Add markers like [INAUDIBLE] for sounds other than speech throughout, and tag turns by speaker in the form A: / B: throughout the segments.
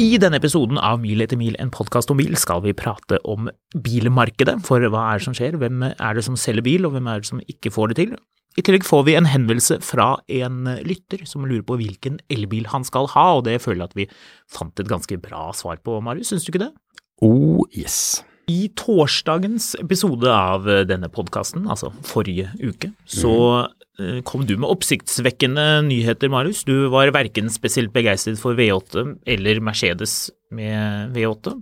A: I denne episoden av Mil etter mil, en podkast om bil, skal vi prate om bilmarkedet. For hva er det som skjer, hvem er det som selger bil, og hvem er det som ikke får det til? I tillegg får vi en henvendelse fra en lytter som lurer på hvilken elbil han skal ha, og det føler jeg at vi fant et ganske bra svar på, Marius, syns du ikke det?
B: Oh yes.
A: I torsdagens episode av eh, denne podkasten, altså forrige uke, så
B: Mhm.
A: eh, kom du med oppsiktsvekkende nyheter, Marius. Du var verken spesielt begeistret for V8 eller Mercedes med V8.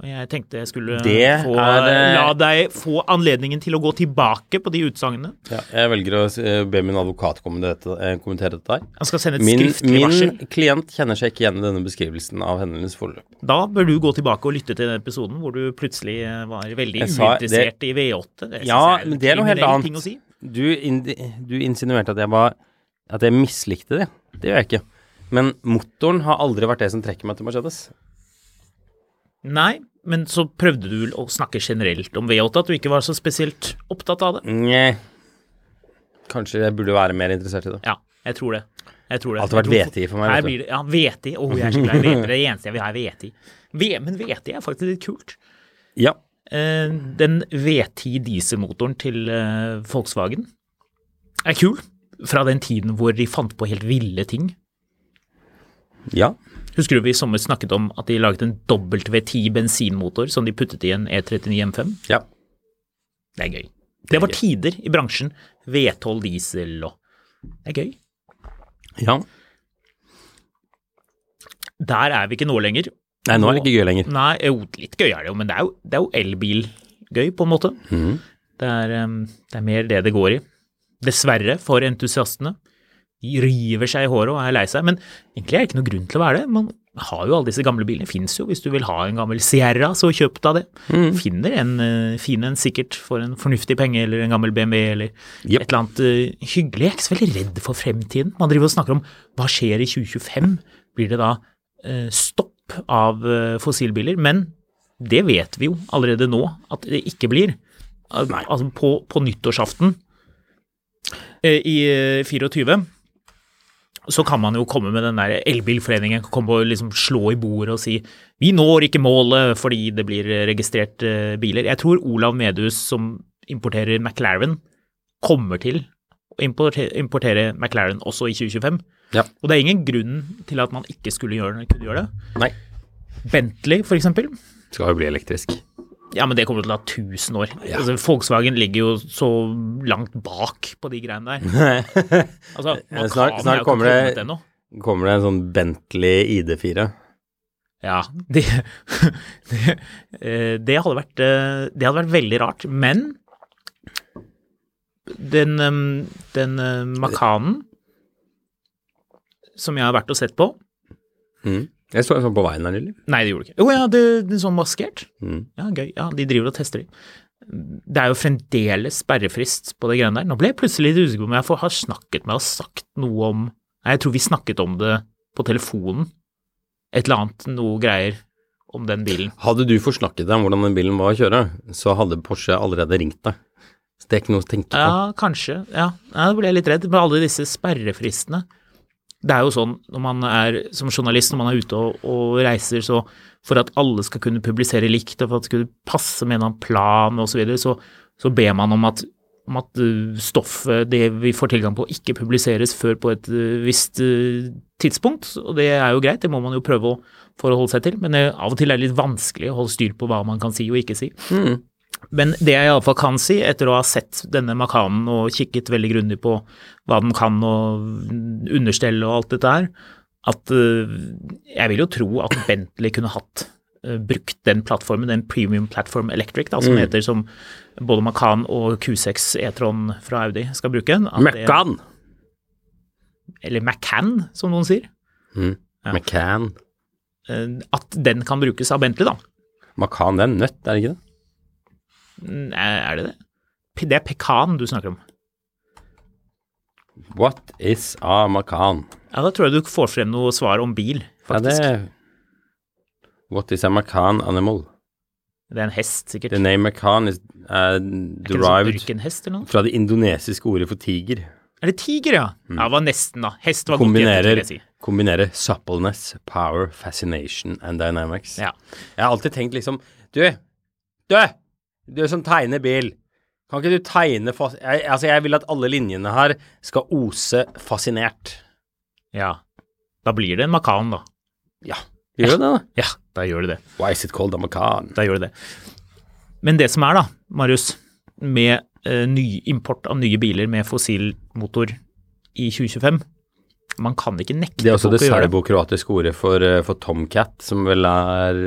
A: Og jeg tenkte jeg skulle
B: Det
A: få,
B: er, eh,
A: la deg få anledningen til å gå tilbake på de utsagnene.
B: Ja, jeg velger å eh, be min advokat kommentere dette- eh, kommentere dette her.
A: Jeg skal sende et
B: Min,
A: skriftlig varsel.
B: min klient kjenner seg ikke igjen i denne beskrivelsen av hendelsen forløp.
A: Da bør du gå tilbake og lytte til den episoden hvor du plutselig eh, var veldig
B: Jeg sa- det-
A: uinteressert i V8. Det synes
B: Ja,
A: jeg en
B: men det er noe helt
A: kriminell
B: annet.
A: ting å si.
B: Du, in, du insinuerte at jeg, var, at jeg mislikte det. Det gjør jeg ikke. Men motoren har aldri vært det som trekker meg til Mercedes.
A: Nei, men så prøvde du vel å snakke generelt om V8, at du ikke var så spesielt opptatt av det.
B: Nje. Kanskje jeg burde være mer interessert i det.
A: Ja, jeg tror det. Jeg tror det.
B: Alltid vært
A: Jeg tror-
B: VTI for meg,
A: Her
B: vet du.
A: blir det, ja, VTI. Å, jeg er så glad i VTI. Det er det eneste jeg vil ha, er VTI. V, men VTI er faktisk litt kult.
B: Ja.
A: Eh, den V10 dieselmotoren til eh, Volkswagen er kul. Fra den tiden hvor de fant på helt ville ting.
B: Ja.
A: Husker du vi i sommer snakket om at de laget en W10 bensinmotor som de puttet i en E E39 M5?
B: ja.
A: Det er gøy. Det var tider i bransjen. V12 diesel og Det er gøy.
B: ja.
A: Der er vi ikke nå lenger.
B: Nei, nå er det ikke gøy lenger.
A: Nei, jo, litt gøy er det jo, men det er jo, det er jo elbilgøy, på en måte. Det, er, em, det er mer det det går i. Dessverre for entusiastene. De river seg i håret og er lei seg, men egentlig er det ikke noe grunn til å være det. Man har jo alle disse gamle bilene, fins jo. Hvis du vil ha en gammel Sierra, så kjøp deg det. Finner en eh, fin en sikkert for en fornuftig penge, eller en gammel BMW, eller
B: Jep.
A: et eller annet eh, hyggelig. Jeg er ikke så veldig redd for fremtiden. Man driver og snakker om hva skjer i 2025? Blir det da eh, stopp av eh, fossilbiler? Men det vet vi jo allerede nå at det ikke blir. Al- Altså på, på nyttårsaften eh, i eh, 24 så kan man jo komme med den der elbilforeningen kan komme og liksom slå i bordet og si vi når ikke målet fordi det blir registrert eh, biler. Jeg tror Olav Medhus som importerer McLaren kommer til å importere, importere McLaren også i 2025.
B: Ja.
A: Og det er ingen grunn til at man ikke skulle gjøre, kunne gjøre det.
B: Nei.
A: Bentley for eksempel,
B: Skal jo bli elektrisk. [LAUGHS]
A: ja, men det kommer til å ta 1000 år. Altså, Volkswagen ligger jo så langt bak på de greiene der. Altså, Macan
B: Mm. Snart-
A: er jo
B: snart
A: ikke
B: kommer det-
A: kommet ennå.
B: Kommer det en sånn Bentley ID4?
A: Ja, det, [LAUGHS] det, eh, det, hadde vært, eh, det hadde vært veldig rart. Men den, em, den eh, Macanen som jeg har vært og sett på
B: Jeg så en sånn på veien her nylig.
A: Nei, det gjorde det ikke. Jo ja, det, det er sånn maskert.
B: Mm.
A: Ja, gøy. Ja, de driver og tester de. Det er jo fremdeles sperrefrist på det greiene der. Nå ble jeg plutselig litt usikker på om jeg får- har snakket med og sagt noe om Nei, jeg tror vi snakket om det på telefonen. Et eller annet noe greier om den bilen.
B: Hadde du forsnakket deg om hvordan den bilen var å kjøre, så hadde Porsche allerede ringt deg. Så det er ikke noe å tenke på.
A: Ja, kanskje. Ja, Nei, da ble jeg litt redd med alle disse sperrefristene. Det er jo sånn når man er som journalist, når man er ute og, og reiser, så for at alle skal kunne publisere likt, og for at det skulle passe med en eller annen plan osv., så, videre, så så ber man om at, om at eh, stoffet, det vi får tilgang på, ikke publiseres før på et eh, visst eh, tidspunkt. Og det er jo greit, det må man jo prøve å forholde seg til, men eh, av og til er det litt vanskelig å holde styr på hva man kan si og ikke si. Men det jeg iallfall kan si, etter å ha sett denne makanen og kikket veldig grundig på hva den kan og understell og alt dette her, at eh, jeg vil jo tro at Bentley kunne hatt eh, brukt den plattformen, den Premium Platform Electric, da, som
B: Mm.
A: heter som både Macan og Q6 E-tron fra Audi skal bruke. at det-
B: Macan!
A: Eller Macan, som noen sier. Ja.
B: Macan.
A: Eh, At den kan brukes av Bentley, da.
B: Macan, det er en nøtt, er det ikke det?
A: Mm, Er er det det? Pe- Det er pekan du snakker om.
B: What is a macan?
A: Ja, Da tror jeg du får frem noe svar om bil,
B: Ja,
A: faktisk.
B: det What is a macan animal?
A: Det er en hest, sikkert.
B: The name macan is
A: Er
B: uh,
A: ikke det sånn
B: derived
A: ørkenhest eller noe?
B: fra det indonesiske ordet for tiger.
A: Er det tiger, ja? Ja, det var nesten, da. Hest var godt gjettet, vil
B: Mm. Kombinerer,
A: jeg si.
B: kombinerer suppleness, power, fascination and dynamics.
A: Ja.
B: Jeg har alltid tenkt liksom Du, du, du som tegner bil. Kan ikke du tegne fas... Jeg, altså, jeg vil at alle linjene her skal ose fascinert.
A: ja. Da blir det en makan, da.
B: Ja. Gjør det, da?
A: Ja, da gjør det det.
B: Why is it called a macan?
A: Da gjør det det. Men det som er, da, Marius, med eh, ny import av nye biler med fossilmotor i 2025 Man kan ikke nekte
B: Det er også
A: folk
B: det
A: å gjøre det.
B: serbokroatiske ordet for, eh, for tomcat, som vel er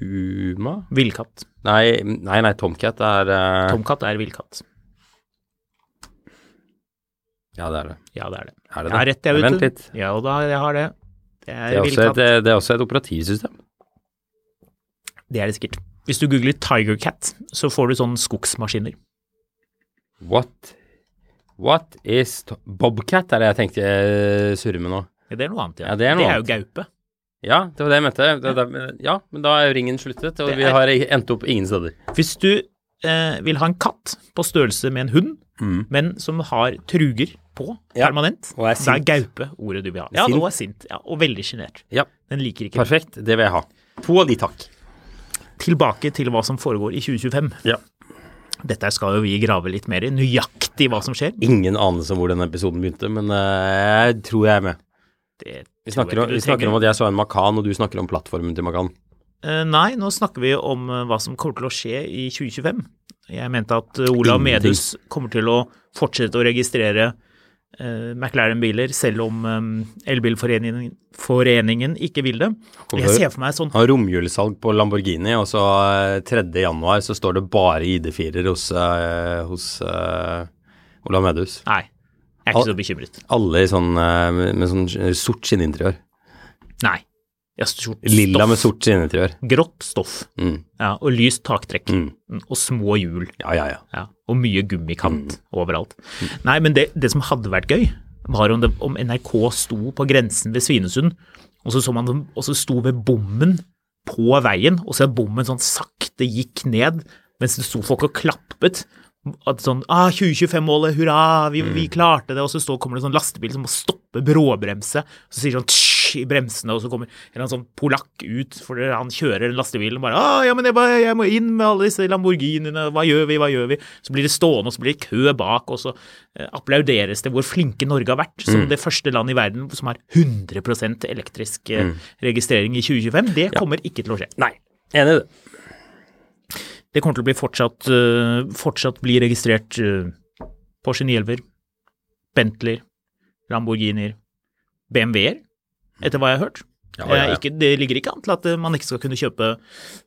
B: Puma?
A: Villkatt.
B: Nei, nei, nei tomcat er eh,
A: Tomkatt er villkatt.
B: Ja, det er det.
A: Ja, det er det.
B: Er det
A: Jeg har
B: det?
A: rett, jeg, vet
B: Vent
A: du.
B: litt.
A: Ja, og da, jeg har det. Det
B: Det
A: er,
B: er, også
A: villkatt.
B: et, eh, det, det er også et operativsystem.
A: Det er det sikkert. Hvis du googler Tiger Cat, så får du sånne skogsmaskiner.
B: What What is to Bobcat er det jeg tenkte jeg surrer med nå.
A: Ja, det er noe annet, ja.
B: Ja, det er noe
A: jo gaupe.
B: Ja, det var det jeg mente. Det, det, ja, men da er jo ringen sluttet, og
A: Det
B: vi
A: er-
B: har endt opp ingen steder.
A: Hvis du eh, vil ha en katt på størrelse med en hund, men som har truger på
B: Mm. Ja,
A: permanent,
B: og er
A: da er
B: sint.
A: gaupe ordet du vil ha. Ja,
B: Sint.
A: og er sint. Ja, og veldig sjenert.
B: Ja,
A: Den liker ikke det.
B: perfekt. Det vil jeg ha. To av de, takk.
A: Tilbake til hva som foregår i 2025.
B: Ja.
A: Dette skal jo vi grave litt mer i, nøyaktig hva som skjer.
B: Ingen anelse om hvor denne episoden begynte, men eh, jeg tror jeg er med.
A: Det
B: Vi snakker, om, vi snakker om at jeg så en makan, og du snakker om plattformen til makan.
A: Eh, Nei, nå snakker vi om eh, hva som kommer til å skje i 2025. Jeg mente at eh, Olav
B: Ingenting.
A: Medus kommer til å fortsette å registrere eh, McLaren-biler, selv om eh, Elbilforeningen foreningen ikke vil det.
B: Kommer
A: Jeg
B: det-
A: ser for meg sånn
B: Har romjulssalg på Lamborghini, og så eh, 3. januar så står det bare ID4-er hos, eh, hos eh, Olav Medhus.
A: Nei, jeg er ikke så bekymret.
B: Alle i sånn, eh, med, med sånn eh, sort skinninteriør.
A: Nei. Ja, sort
B: Lilla med
A: stoff.
B: sort skinninteriør.
A: Grått stoff.
B: Mm.
A: Ja, og lyst taktrekk.
B: Mm.
A: Mm, Og små hjul.
B: Ja, ja, ja.
A: Ja, og mye gummikant overalt. Nei, men det, det som hadde vært gøy, var om, det, om NRK sto på grensen ved Svinesund, og så så man dem og så sto ved bommen på veien, og så at bommen sånn sakte gikk ned, mens det sto folk og klappet. At sånn ah, 2025-målet, hurra, vi, vi klarte det. Og så står, kommer det en sånn lastebil som må stoppe bråbremse. Så sier sånn tsj i bremsene, og så kommer en eller annen sånn polakk ut, for han kjører en lastebil og bare ah, ja, men jeg, bare, jeg må inn med alle disse Lamborghiniene, hva gjør vi, hva gjør vi? Så blir det stående, og så blir det kø bak, og så eh, applauderes det hvor flinke Norge har vært, som det første land i verden som har 100 elektrisk eh, registrering i 2025. Det kommer ikke til å skje.
B: Nei, enig i det.
A: Det kommer til å bli fortsatt, eh, fortsatt bli registrert eh, Porsche 911, Bentleyer, Lamborghinier, BMW-er, etter hva jeg har hørt.
B: Ja, ja,
A: Eh,
B: ja.
A: Ikke, det ligger ikke an til at eh, man ikke skal kunne kjøpe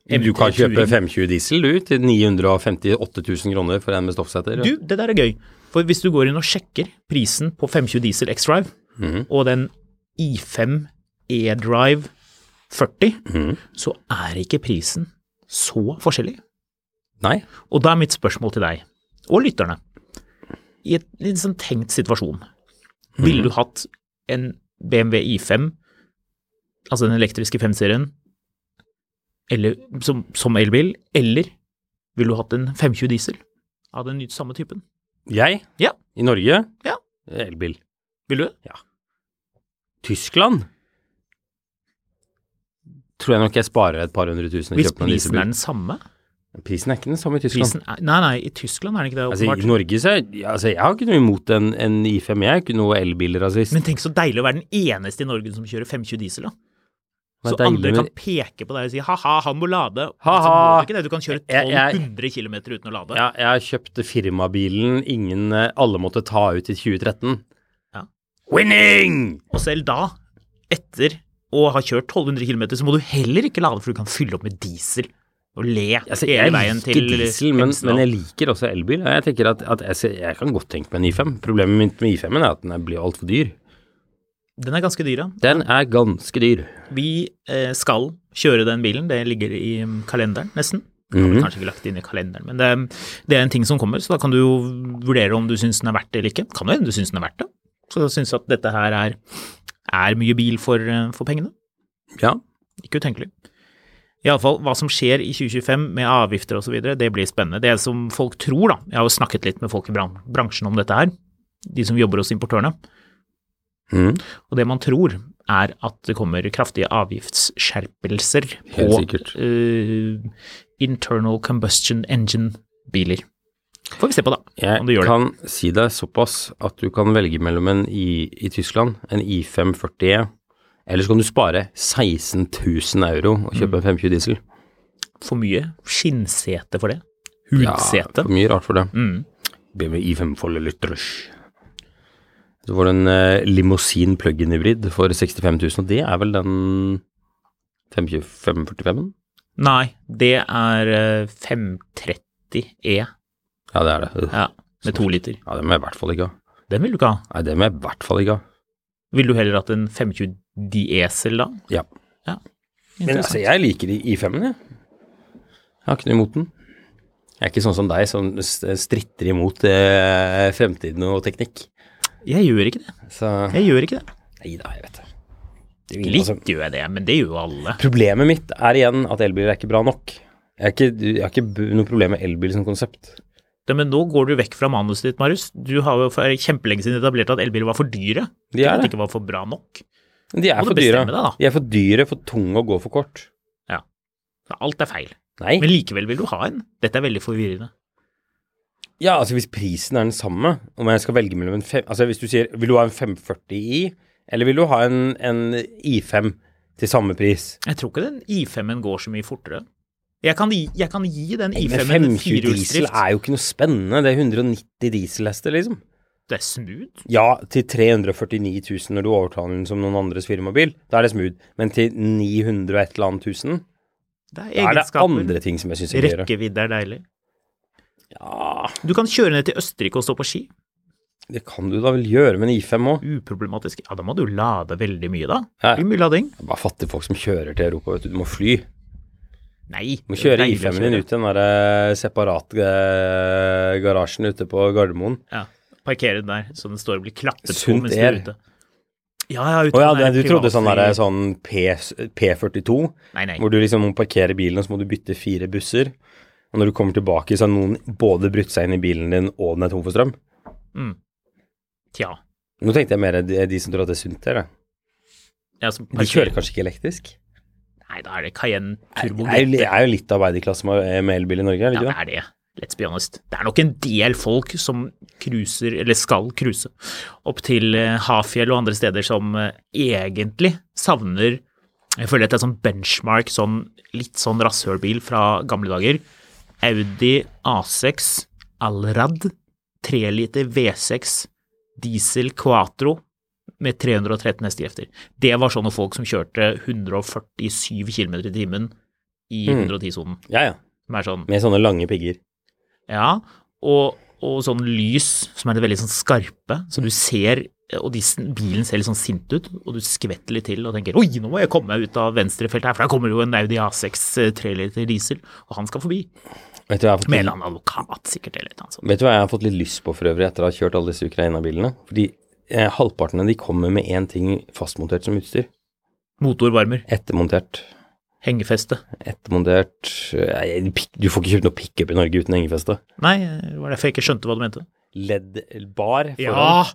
B: Du kan
A: MT Touring.
B: kjøpe 520 diesel du, til 958 000 kroner for en med stoffsetter.
A: Du, det der er gøy. For hvis du går inn og sjekker prisen på 520 diesel X-Drive
B: Mhm.
A: og den i5 E-Drive 40,
B: Mm.
A: så er ikke prisen så forskjellig.
B: Nei.
A: Og da er mitt spørsmål til deg, og lytterne, i et, i en sånn tenkt situasjon,
B: Mm.
A: ville du hatt en BMW i5, altså den elektriske 5-serien, eller, som, som elbil, eller ville du hatt en 520 diesel av den samme typen?
B: Jeg?
A: Ja.
B: I Norge?
A: Ja.
B: Elbil.
A: Vil du?
B: Ja. Tyskland? Tror jeg nok jeg sparer et par hundre tusen og
A: Hvis
B: kjøper meg en
A: prisen er
B: dieselbil.
A: den samme
B: Prisen er ikke den samme i Tyskland.
A: prisen er, Nei, nei, i Tyskland er den ikke det,
B: Altså, I
A: åpenbart.
B: Norge så er- ja, altså, Jeg har ikke noe imot en, en I5. Jeg er ikke noe elbilrasist.
A: Men tenk så deilig å være den eneste i Norge som kjører 520 diesel, da. Så
B: Det er deilig
A: andre kan
B: med-
A: peke på deg og si ha-ha, han må lade.
B: Ha,
A: Så må
B: ha.
A: du ikke det. Du kan kjøre
B: Jeg- jeg-
A: 1200 km uten å lade.
B: Ja, jeg kjøpte firmabilen ingen eh, alle måtte ta ut i 2013.
A: Ja.
B: Winning!
A: Og selv da, etter å ha kjørt 1200 km, så må du heller ikke lade, for du kan fylle opp med diesel og le
B: Altså, jeg
A: hele veien
B: liker
A: til
B: diesel, men,
A: Hemsedal.
B: men jeg liker også elbil. og Jeg tenker at, at jeg, ser- jeg kan godt tenke meg en I5. Problemet mitt med I5-en er at den er- blir altfor dyr.
A: Den er ganske dyr, ja.
B: Den er ganske dyr.
A: Vi eh, skal kjøre den bilen, det ligger i mm, kalenderen nesten. Det har vi kanskje ikke lagt inn i kalenderen, men det, er- det er en ting som kommer, så da kan du jo vurdere om du syns den er verdt det eller ikke. Kan jo hende du syns den er verdt det. Så da syns du at dette her er, er mye bil for, eh, for pengene.
B: Ja.
A: Ikke utenkelig. Iallfall hva som skjer i 2025 med avgifter osv., det blir spennende. Det som folk tror, da. Jeg har jo snakket litt med folk i bran- bransjen om dette her, de som jobber hos importørene.
B: Mhm.
A: Og det man tror er at det kommer kraftige avgiftsskjerpelser på
B: Helt sikkert.
A: eh, internal combustion engine-biler. Får vi se på, da. om det gjør
B: Jeg
A: det.
B: kan si deg såpass at du kan velge mellom en I i Tyskland, en I540E, eller så kan du spare 16 000 euro og kjøpe en 520 diesel.
A: For mye skinnsete for det.
B: Ja,
A: Hudsete.
B: for mye rart for det.
A: Mm.
B: BMW I5 Folder Lytterøsj. Så får du en eh, limousin plug-in hybrid for 65 000, og det er vel den 52545-en?
A: Nei, det er eh, 530E
B: Ja, det er det.
A: ja, med to liter.
B: Ja, det må jeg i hvert fall ikke ha.
A: Den vil du ikke ha.
B: Nei, det må jeg i hvert fall ikke ha.
A: Vil du heller hatt en 520 diesel da?
B: Ja. Men
A: Interessant.
B: altså, jeg liker de i5-ene, jeg. Jeg har ikke noe imot den. Jeg er ikke sånn som deg, som s- stritter imot eh, fremtiden og teknikk.
A: jeg gjør ikke det.
B: Så
A: Jeg gjør ikke det.
B: Nei da, jeg vet det. det er jo ingen som-
A: Litt gjør jeg det, men det gjør jo alle.
B: Problemet mitt er igjen at elbiler er ikke bra nok. Jeg har ikke, jeg har ikke bu- noe problem med elbil som konsept.
A: Det, men nå går du vekk fra manuset ditt, Marius. Du har jo for kjempelenge siden etablert at elbiler var for dyre.
B: De
A: At
B: er
A: de
B: det.
A: ikke var for bra nok.
B: De er
A: Må du
B: for dyre.
A: bestemme deg, da.
B: De er for dyre, for tunge og går for kort.
A: Så Alt er feil.
B: Nei.
A: Men likevel vil du ha en. Dette er veldig forvirrende.
B: Ja, altså hvis prisen er den samme, om jeg skal velge mellom en fem, Altså hvis du sier Vil du ha en 540i, eller vil du ha en, en i5 til samme pris?
A: Jeg tror ikke den I5-en går så mye fortere. Jeg kan gi, jeg kan gi den
B: Men
A: I5-en en
B: 520 diesel
A: firehjulsdrift.
B: er jo ikke noe spennende. Det er 190 dieselhester, liksom.
A: Det er smooth.
B: Ja, til 349 000 når du overtar den som noen andres firmabil. Da er det smooth. Men til 900 og et eller annet tusen,
A: Det
B: da
A: er
B: er det
A: egenskaper.
B: andre ting som jeg syns er gøyere.
A: Rekkevidde er deilig.
B: Ja,
A: Du kan kjøre ned til Østerrike og stå på ski.
B: det kan du da vel gjøre med en i5 òg.
A: uproblematisk. Ja, da må du lade veldig mye, da.
B: Ja.
A: Det blir mye lading.
B: Det er bare fattige folk som kjører til Europa, vet du. Du må fly.
A: Nei.
B: Du må
A: det er
B: kjøre
A: deilig å
B: I5-en din
A: kjøre.
B: ut til den der eh, separatgarasjen ute på Gardermoen.
A: Ja. Parkere den der, så den står og blir klappet på
B: Sunt
A: mens du
B: air.
A: er ute. Ja, ja, ute
B: Å ja,
A: på den der
B: det- du trodde sånn
A: privatfly-
B: derre sånn P, P42,
A: Nei, nei.
B: hvor du liksom må parkere bilen, og så må du bytte fire busser. Og når du kommer tilbake, så har noen både brutt seg inn i bilen din, og den er tom for strøm.
A: Mm. Tja.
B: Nå tenkte jeg mer de, de som tror at det er sunt her, da.
A: Ja, så
B: De
A: parker-
B: kjører kanskje ikke elektrisk?
A: Nei, da er det Cayenne
B: Det er
A: Turbo
B: jo,
A: GT.
B: det er jo litt arbeiderklasse med, med elbil i Norge, er det
A: Ja,
B: ikke
A: det er det. Let's be honest. Det er nok en del folk som cruiser, eller skal cruise, opp til eh, Hafjell og andre steder som eh, egentlig savner Jeg føler at det er sånn benchmark, sånn litt sånn rasshølbil fra gamle dager. Audi A6 Allrad, 3 liter V6 diesel Quatro med 313 hestekrefter. Det var sånne folk som kjørte 147 km i timen i
B: Mm.
A: 110-sonen.
B: det? Ja, ja.
A: Som er sånn
B: Med sånne lange pigger.
A: ja, og, og sånn lys som er det veldig sånn skarpe, så du ser og de, bilen ser litt sånn sint ut, og du skvetter litt til og tenker oi, nå må jeg komme meg ut av venstrefeltet her, for der kommer jo en Audi A6 eh, 3 liter diesel, og han skal forbi.
B: Vet du hva jeg har fått
A: Med en eller annen advokat sikkert, eller noe sånt.
B: Vet du hva jeg har fått litt lyst på for øvrig etter å ha kjørt alle disse Ukraina-bilene? Fordi eh, halvparten av de kommer med én ting fastmontert som utstyr.
A: Motorvarmer,
B: Ettermontert.
A: hengefeste.
B: Ettermontert eh, pik- Du får ikke kjøpt noe pickup i Norge uten hengefeste.
A: Nei, det var derfor jeg ikke skjønte hva du mente.
B: LED-bar foran.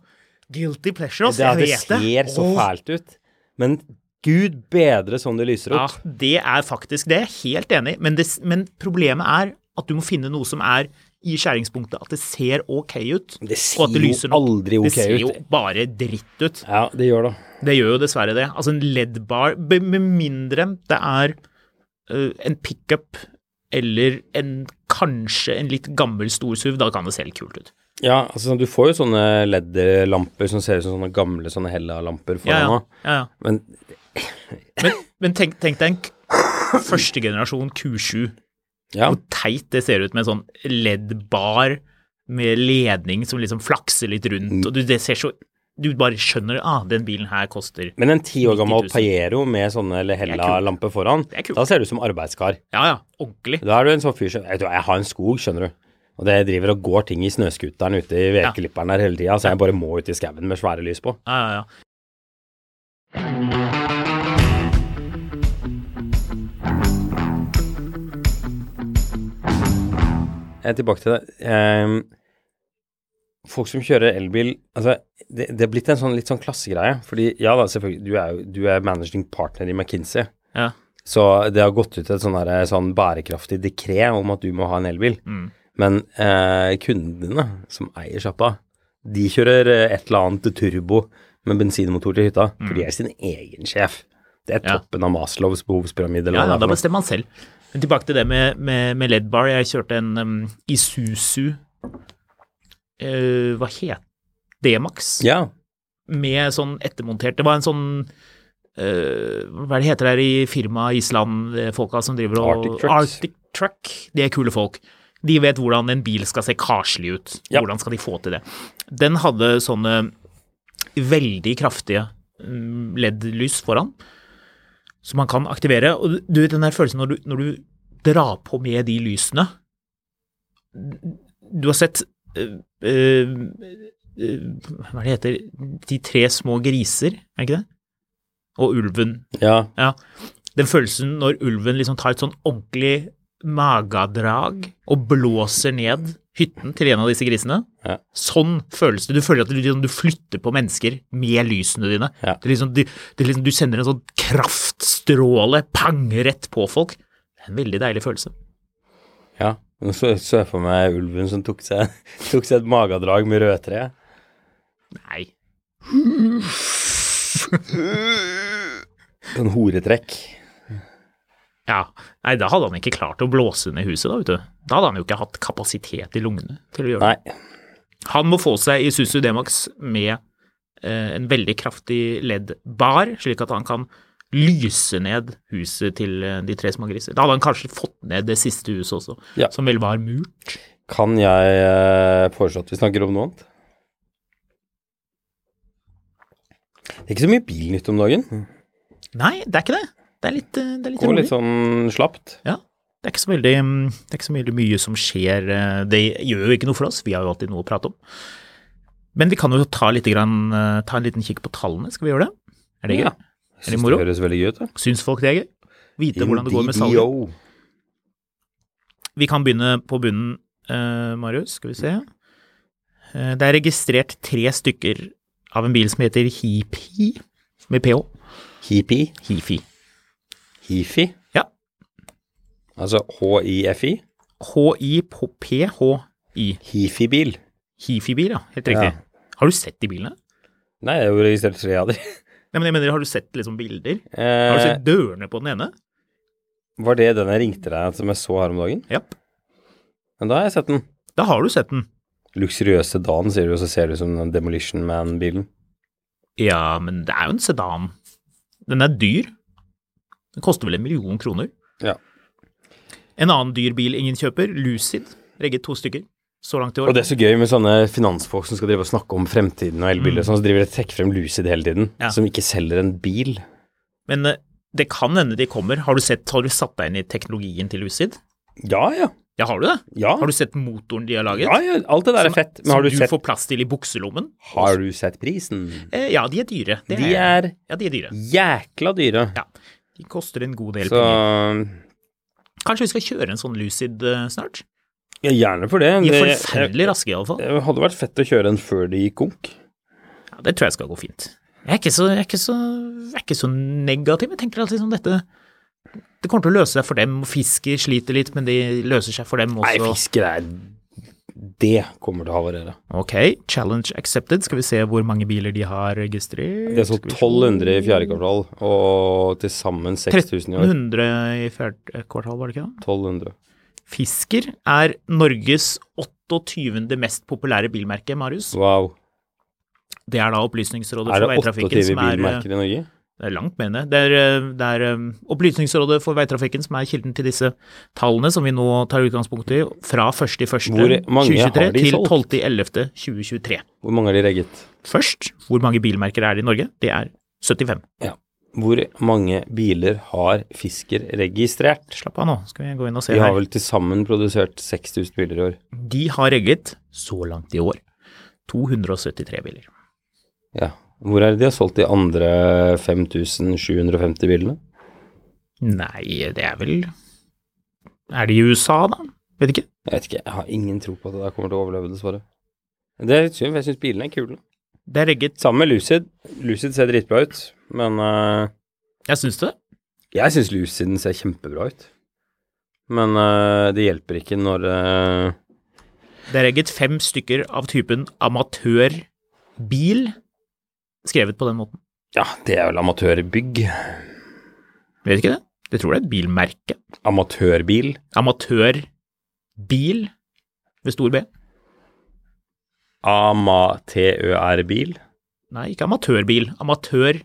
A: Guilty pleasure, ass.
B: Det,
A: Jeg
B: det
A: vet det.
B: ser så
A: Åh.
B: fælt ut. Men gud bedre sånn det lyser
A: Ja,
B: opp.
A: det er faktisk det. Jeg er helt enig. Men, det, men problemet er at du må finne noe som er i skjæringspunktet, at det ser ok ut.
B: Det ser
A: og at det
B: jo
A: lyser nok.
B: aldri ok
A: Det ser jo
B: ut.
A: bare dritt ut.
B: Ja, det gjør det.
A: Det gjør jo dessverre det. Altså en LED-bar, be- med mindre det er øh, en pickup eller en kanskje en litt gammel stor SUV, da kan det se litt kult ut.
B: Ja, altså sånn, du får jo sånne LED-lamper som ser ut som sånne gamle sånne
A: Ja,
B: Hella-lamper foran
A: ja.
B: nå.
A: ja, ja.
B: Men
A: Men, men tenk, tenk deg en k- første generasjon Q7.
B: ja,
A: Hvor teit det ser ut med en sånn LED-bar med ledning som liksom flakser litt
B: Mm.
A: rundt, og du, det ser så Du bare skjønner ah, den bilen her koster
B: men en ti år gammel
A: 90 000.
B: Pajero med sånne Hella-lamper foran,
A: Det er kult.
B: da ser du ut som arbeidskar.
A: Ja ja, ordentlig.
B: Da er du en sånn fyr som Vet du hva, jeg har en skog, skjønner du. Og det driver og går ting i snøskuteren ute i vedklipperen der hele tida, så jeg bare må ut i skauen med svære lys på.
A: Ja, ja, ja.
B: Jeg er tilbake til det. Ehm, folk som kjører elbil altså, det, det er blitt en sånn, litt sånn klassegreie. Fordi ja da, selvfølgelig, du er, jo- du er managing partner i McKinsey.
A: ja.
B: Så det har gått ut et sånn derre- sånn bærekraftig dekret om at du må ha en elbil.
A: Mm.
B: Men eh, kundene som eier sjappa, de kjører eh, et eller annet turbo med bensinmotor til hytta. For de er sin egen sjef. Det er
A: Mm. Ja.
B: toppen av Maslows behovspyramide. eller
A: Ja,
B: hva
A: ja,
B: det er
A: da
B: for noe.
A: bestemmer man selv. Men tilbake til det med, med, med LED-bar. Jeg kjørte en um, Isuzu eh, Hva het D-Max?
B: ja,
A: Med sånn ettermontert Det var en sånn eh, Hva er det heter der i firmaet Island, eh, folka som driver og
B: Arctic Trucks.
A: Arctic Truck. De er kule folk. De vet hvordan en bil skal se karslig ut.
B: Ja.
A: Hvordan skal de få til det. Den hadde sånne veldig kraftige mm, LED-lys foran, som man kan aktivere. Og du- du vet den der følelsen når du, når du drar på med de lysene Du har sett øh, øh, øh, Hva er det heter De tre små griser, er det ikke det? Og ulven.
B: ja.
A: Ja. Den følelsen når ulven liksom tar et sånn ordentlig magadrag og blåser ned hytten til en av disse grisene.
B: Ja.
A: Sånn føles det. Du føler at du, liksom, du flytter på mennesker med lysene dine.
B: Ja.
A: Det er liksom, du, det er liksom, du sender en sånn kraftstråle pang rett på folk. Det er en veldig deilig følelse.
B: Ja. Nå så så jeg for meg ulven som tok seg, [LAUGHS] tok seg et magedrag med rødtre. [LAUGHS]
A: Nei.
B: Sånn horetrekk.
A: Ja. Nei, da hadde han ikke klart å blåse ned huset, da, vet du. Da hadde han jo ikke hatt kapasitet i lungene til å gjøre det.
B: Nei.
A: Han må få seg Isuzu D-Max med eh, en veldig kraftig LED-bar, slik at han kan lyse ned huset til eh, de tre små griser. Da hadde han kanskje fått ned det siste huset også,
B: Ja.
A: som vel var murt.
B: Kan jeg eh, foreslå at vi snakker om noe annet? Det er ikke så mye bilnytt om dagen.
A: Mm. Nei, det er ikke det. Det er litt, eh, det er litt
B: Går
A: rolig.
B: litt sånn slapt.
A: Ja. Det er ikke så veldig, mm, det er ikke så veldig mye som skjer. eh, Det gjør jo ikke noe for oss, vi har jo alltid noe å prate om. Men vi kan jo ta, litt grann, eh, ta en liten kikk på tallene, skal vi gjøre det? Er det gøy?
B: Ja.
A: Er det
B: Synes
A: moro?
B: Det høres veldig gøy ut. da.
A: Syns folk det er gøy? Vite hvordan det går med salget?
B: DDO.
A: Vi kan begynne på bunnen, eh, Marius. Skal vi se. Eh, det er registrert tre stykker av en bil som heter Hipi, med ph.
B: Hipi.
A: Hifi.
B: Hifi.
A: Ja.
B: Altså HIFI.
A: H-i-p-h-i.
B: Hifi-bil.
A: Hifi-bil, ja. Helt riktig.
B: Ja.
A: Har du sett de bilene?
B: Nei, jeg har jo registrert tre av dem.
A: Nei, men jeg mener, [LAUGHS] har du sett liksom bilder? Har du
B: Eh,
A: sett dørene på den ene?
B: var det den jeg ringte deg som jeg så her om dagen?
A: Japp.
B: Men da har jeg sett den.
A: Da har du sett den.
B: Luksuriøse dagen, sier du, og så ser du ut som den Demolition Man-bilen.
A: Ja, men det er jo en sedan. Den er dyr. Den koster vel en million kroner.
B: Ja.
A: En annen dyr bil ingen kjøper, Lucid. Regget to stykker så langt i år.
B: Og det er så gøy med sånne finansfolk som skal drive og snakke om fremtiden og elbiler, og sånn, så driver de og trekker frem Lucid hele tiden,
A: Mm. Ja.
B: som ikke selger en bil.
A: Men eh, det kan hende de kommer. Har du, sett, har du satt deg inn i teknologien til Lucid?
B: Ja, ja.
A: Ja, har du det?
B: Ja.
A: Har du sett motoren de har laget?
B: Ja, ja, alt det der er
A: Som-
B: fett. Men har du,
A: som
B: sett,
A: får plass til i bukselommen?
B: har du sett prisen?
A: Eh, ja, de er dyre. Det
B: De er
A: Ja, de er dyre.
B: jækla dyre.
A: Ja. De koster en god del
B: Så
A: penger.
B: ja,
A: Kanskje vi skal kjøre en sånn Lucid eh, snart?
B: gjerne for det.
A: De er
B: Det-
A: forferdelig raske, iallfall.
B: Det hadde vært fett å kjøre en før det gikk konk.
A: Ja, Ja, det tror jeg skal gå fint. Jeg er ikke så, jeg er ikke så, jeg er ikke så negativ. Jeg tenker alltid sånn dette Det kommer til å løse seg for dem. Fisket sliter litt, men de løser seg for dem også.
B: Nei, fisker er Det kommer til å havarere.
A: Ok, challenge accepted. Skal vi se hvor mange biler de har registrert.
B: Det er sånn
A: Skal vi se.
B: 1200 i fjerde kvartal og til sammen 6000 i år.
A: 1300 i fjerde kvartal, var det ikke det?
B: 1200.
A: Fisker er Norges 28. mest populære bilmerke, Marius.
B: Wow.
A: Det er da Opplysningsrådet
B: Er
A: for
B: det
A: veitrafikken
B: 28
A: som er eh,
B: bilmerker i Norge?
A: Det er langt mer enn det. Det er, eh, det er eh, Opplysningsrådet for veitrafikken som er kilden til disse tallene som vi nå tar utgangspunkt i, fra
B: Hvor mange har
A: 1.1.2023
B: de
A: til
B: solgt?
A: 12.11.2023.
B: Hvor mange har de regget?
A: Først, hvor mange bilmerker er det i Norge? Det er 75.
B: Ja. Hvor mange biler har Fisker registrert?
A: Slapp av nå, skal vi gå inn og se
B: De har
A: her.
B: vel til sammen produsert 6000 biler i år.
A: De har regget, så langt i år, 273 biler.
B: Ja. Hvor er det de har solgt de andre 5750 bilene?
A: Nei, det er vel Er det i USA, da? Vet ikke.
B: Jeg vet ikke, jeg har ingen tro på at det der kommer til å overleve, dessverre. Det er litt synd, for jeg syns bilene er kule.
A: Det er regget
B: Sammen med Lucid. Lucid ser dritbra ut, men eh,
A: Jeg syns det.
B: Jeg syns Luciden ser kjempebra ut. Men eh, det hjelper ikke når eh,
A: Det er regget fem stykker av typen amatørbil, skrevet på den måten.
B: Ja, det er vel amatørbygg.
A: Vet ikke det? Jeg tror det er et bilmerke.
B: Amatørbil.
A: Amatørbil ved stor B.
B: Amatørbil.
A: Nei, ikke amatørbil. Amatørbil.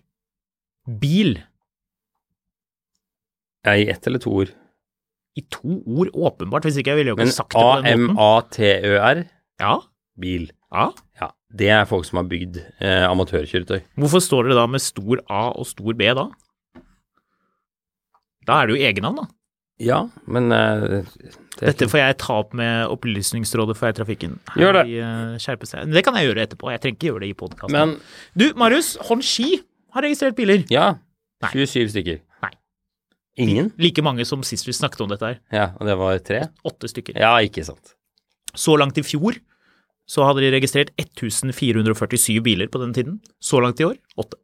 B: I ett eller to ord.
A: I to ord, åpenbart, hvis ikke jeg ville jo
B: Men
A: ikke sagt det på den måten.
B: A-M-A-T-Ø-R.
A: Ja,
B: Bil.
A: ja.
B: Ja, det er folk som har bygd eh, amatørkjøretøy.
A: Hvorfor står det da med stor A og stor B da? Da er det jo egennavn, da.
B: Ja, men eh, det er
A: Dette får jeg ta opp med Opplysningsrådet for veitrafikken. Her
B: Gjør det.
A: i, eh, Skjerpestad. Men Det kan jeg gjøre etterpå. Jeg trenger ikke gjøre det i podkasten.
B: Men
A: Du, Marius, Honshi har registrert biler.
B: ja,
A: Nei.
B: 27 stykker.
A: Nei.
B: Ingen?
A: Like mange som sist vi snakket om dette her.
B: Ja, og det var tre?
A: Åtte stykker.
B: Ja, ikke sant.
A: Så langt i fjor så hadde de registrert 1447 biler på den tiden. Så langt i år åtte.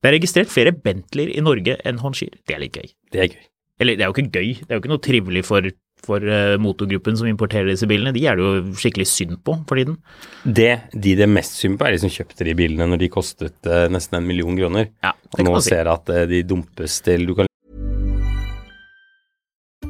A: Det er registrert flere Bentleyer i Norge enn Honshir. Det er litt gøy.
B: Det er gøy.
A: Eller det er jo ikke gøy, det er jo ikke noe trivelig for, for eh, motorgruppen som importerer disse bilene. De er det jo skikkelig synd på for tiden.
B: Det de det er mest synd på, er de som kjøpte de bilene når de kostet eh, nesten en million kroner.
A: Ja,
B: Og
A: det kan
B: nå
A: man si.
B: ser jeg at eh, de dumpes til Du kan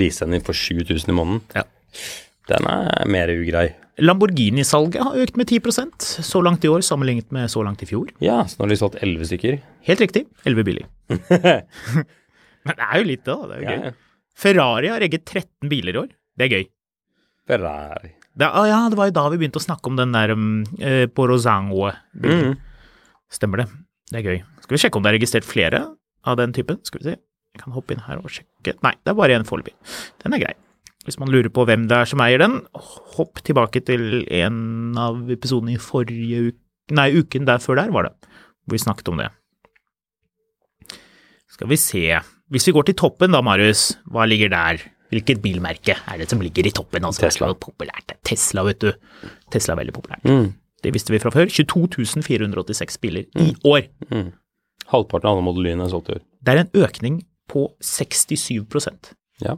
B: lease den inn for 7000 i måneden.
A: Ja.
B: Den er mer ugrei.
A: Lamborghini-salget har økt med 10 så langt i år sammenlignet med så langt i fjor.
B: Ja, så nå har de solgt 11 [LAUGHS] stykker.
A: Helt riktig, 11 biler. Men det er jo litt, da. Det er jo
B: Ja,
A: gøy.
B: ja.
A: Ferrari har regget 13 biler i år. Det er gøy.
B: Ferrari.
A: Det, ah, ja, det var jo da vi begynte å snakke om den der um, eh, på Rosango.
B: Mm.
A: Stemmer det. Det er gøy. Skal vi sjekke om det er registrert flere av den typen? Skal vi se. Jeg kan hoppe inn her og sjekke. Nei, det er bare én foreløpig. Den er grei. Hvis man lurer på hvem det er som eier den, hopp tilbake til en av episodene i forrige uke Nei, uken der før der var det, hvor vi snakket om det. Skal vi se. Hvis vi går til toppen da, Marius, hva ligger der? Hvilket bilmerke er det som ligger i toppen? Altså,
B: Tesla.
A: Det er så Populært. Tesla, vet du. Tesla er veldig populært. Det visste vi fra før. 22 486 biler i år.
B: Halvparten av alle modellyene er solgt i år.
A: Det er en økning på 67
B: Ja.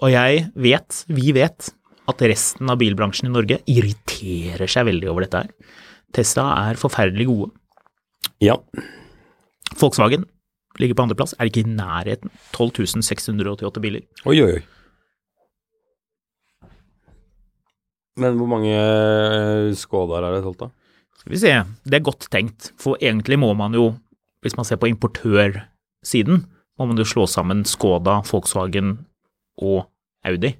A: Og jeg vet, vi vet, at resten av bilbransjen i Norge irriterer seg veldig over dette her. Tesla er forferdelig gode.
B: Ja.
A: Volkswagen ligger på andreplass, er ikke i nærheten. 12 688 biler.
B: Oi, oi, oi. Men hvor mange eh, Skodaer er det solgt, da?
A: Skal vi se, det er godt tenkt, for egentlig må man jo, hvis man ser på importørsiden, må man jo slå sammen Skoda, Volkswagen og Audi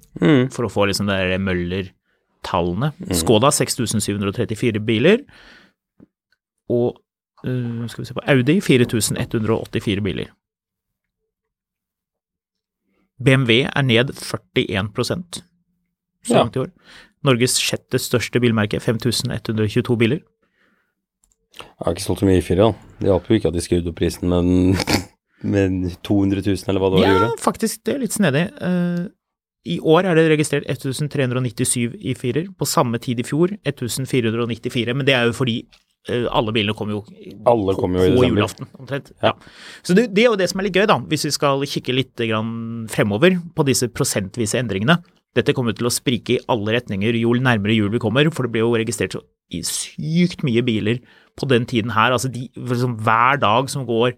A: for å få liksom det der Møller-tallene. Skoda 6734 biler, og eh, skal vi se på Audi 4184 biler. BMW er ned 41 så
B: Ja.
A: langt i år. Norges sjette største bilmerke, 5122 biler.
B: Jeg har ikke solgt så mye i 4 da. Det hjalp jo ikke at de skrudde opp prisen men [LAUGHS] med 200 000, eller hva det var de
A: Ja,
B: gjorde.
A: faktisk, det er litt snedig. Eh, I år er det registrert 1397 i firer, på samme tid i fjor 1494, men det er jo fordi eh, alle bilene kom jo
B: Alle kom jo i
A: på
B: desember.
A: julaften, omtrent. Ja. Så det, det er jo det som er litt gøy, da, hvis vi skal kikke litt grann fremover på disse prosentvise endringene. Dette kommer jo til å sprike i alle retninger jo nærmere jul vi kommer, for det ble jo registrert så i- sykt mye biler på den tiden her. Altså de, for liksom, hver dag som går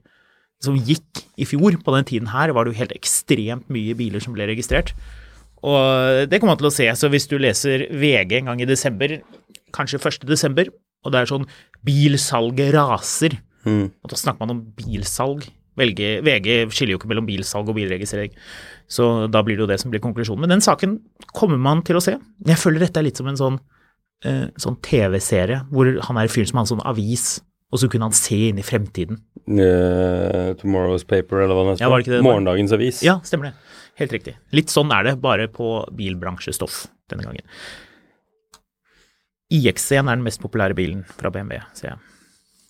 A: som gikk i fjor på den tiden her, var det jo helt ekstremt mye biler som ble registrert. Og det kommer man til å se. Så hvis du leser VG en gang i desember, kanskje 1. desember, og det er sånn 'bilsalget raser', og da snakker man om bilsalg. Velge, VG skiller jo ikke mellom bilsalg og bilregistrering, så da blir det jo det som blir konklusjonen. Men den saken kommer man til å se. Jeg føler dette er litt som en sånn eh, sånn TV-serie hvor han er fyren som har en sånn avis, og så kunne han se inn i fremtiden.
B: Eh, Tomorrow's Paper, eller hva det heter.
A: Ja, var det ikke det det var?
B: Morgendagens avis.
A: Ja, stemmer det. Helt riktig. Litt sånn er det, bare på bilbransjestoff denne gangen. IX1 er den mest populære bilen fra BMW, ser jeg.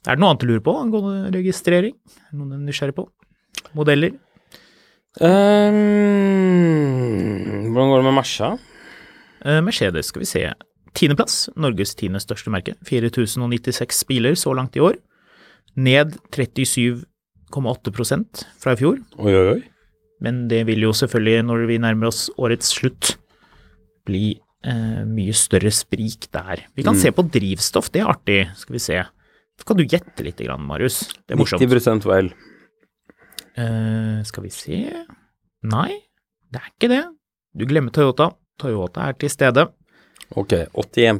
A: Er det noe annet du lurer på angående registrering? Er det Noe du er nysgjerrig på? Modeller?
B: Ehm, hvordan går det med Mersa?
A: Eh, Mercedes, skal vi se. Tiendeplass, Norges tiende største merke. 4096 biler så langt i år. Ned 37,8 fra i fjor.
B: Oi, oi, oi.
A: Men det vil jo selvfølgelig, når vi nærmer oss årets slutt, bli eh, mye større sprik der. Vi kan se på drivstoff, det er artig. Skal vi se. Så kan du gjette litt, grann, Marius. Det er morsomt.
B: 90 var el.
A: Eh, skal vi se Nei, det er ikke det. Du glemmer Toyota. Toyota er til stede.
B: Ok, 81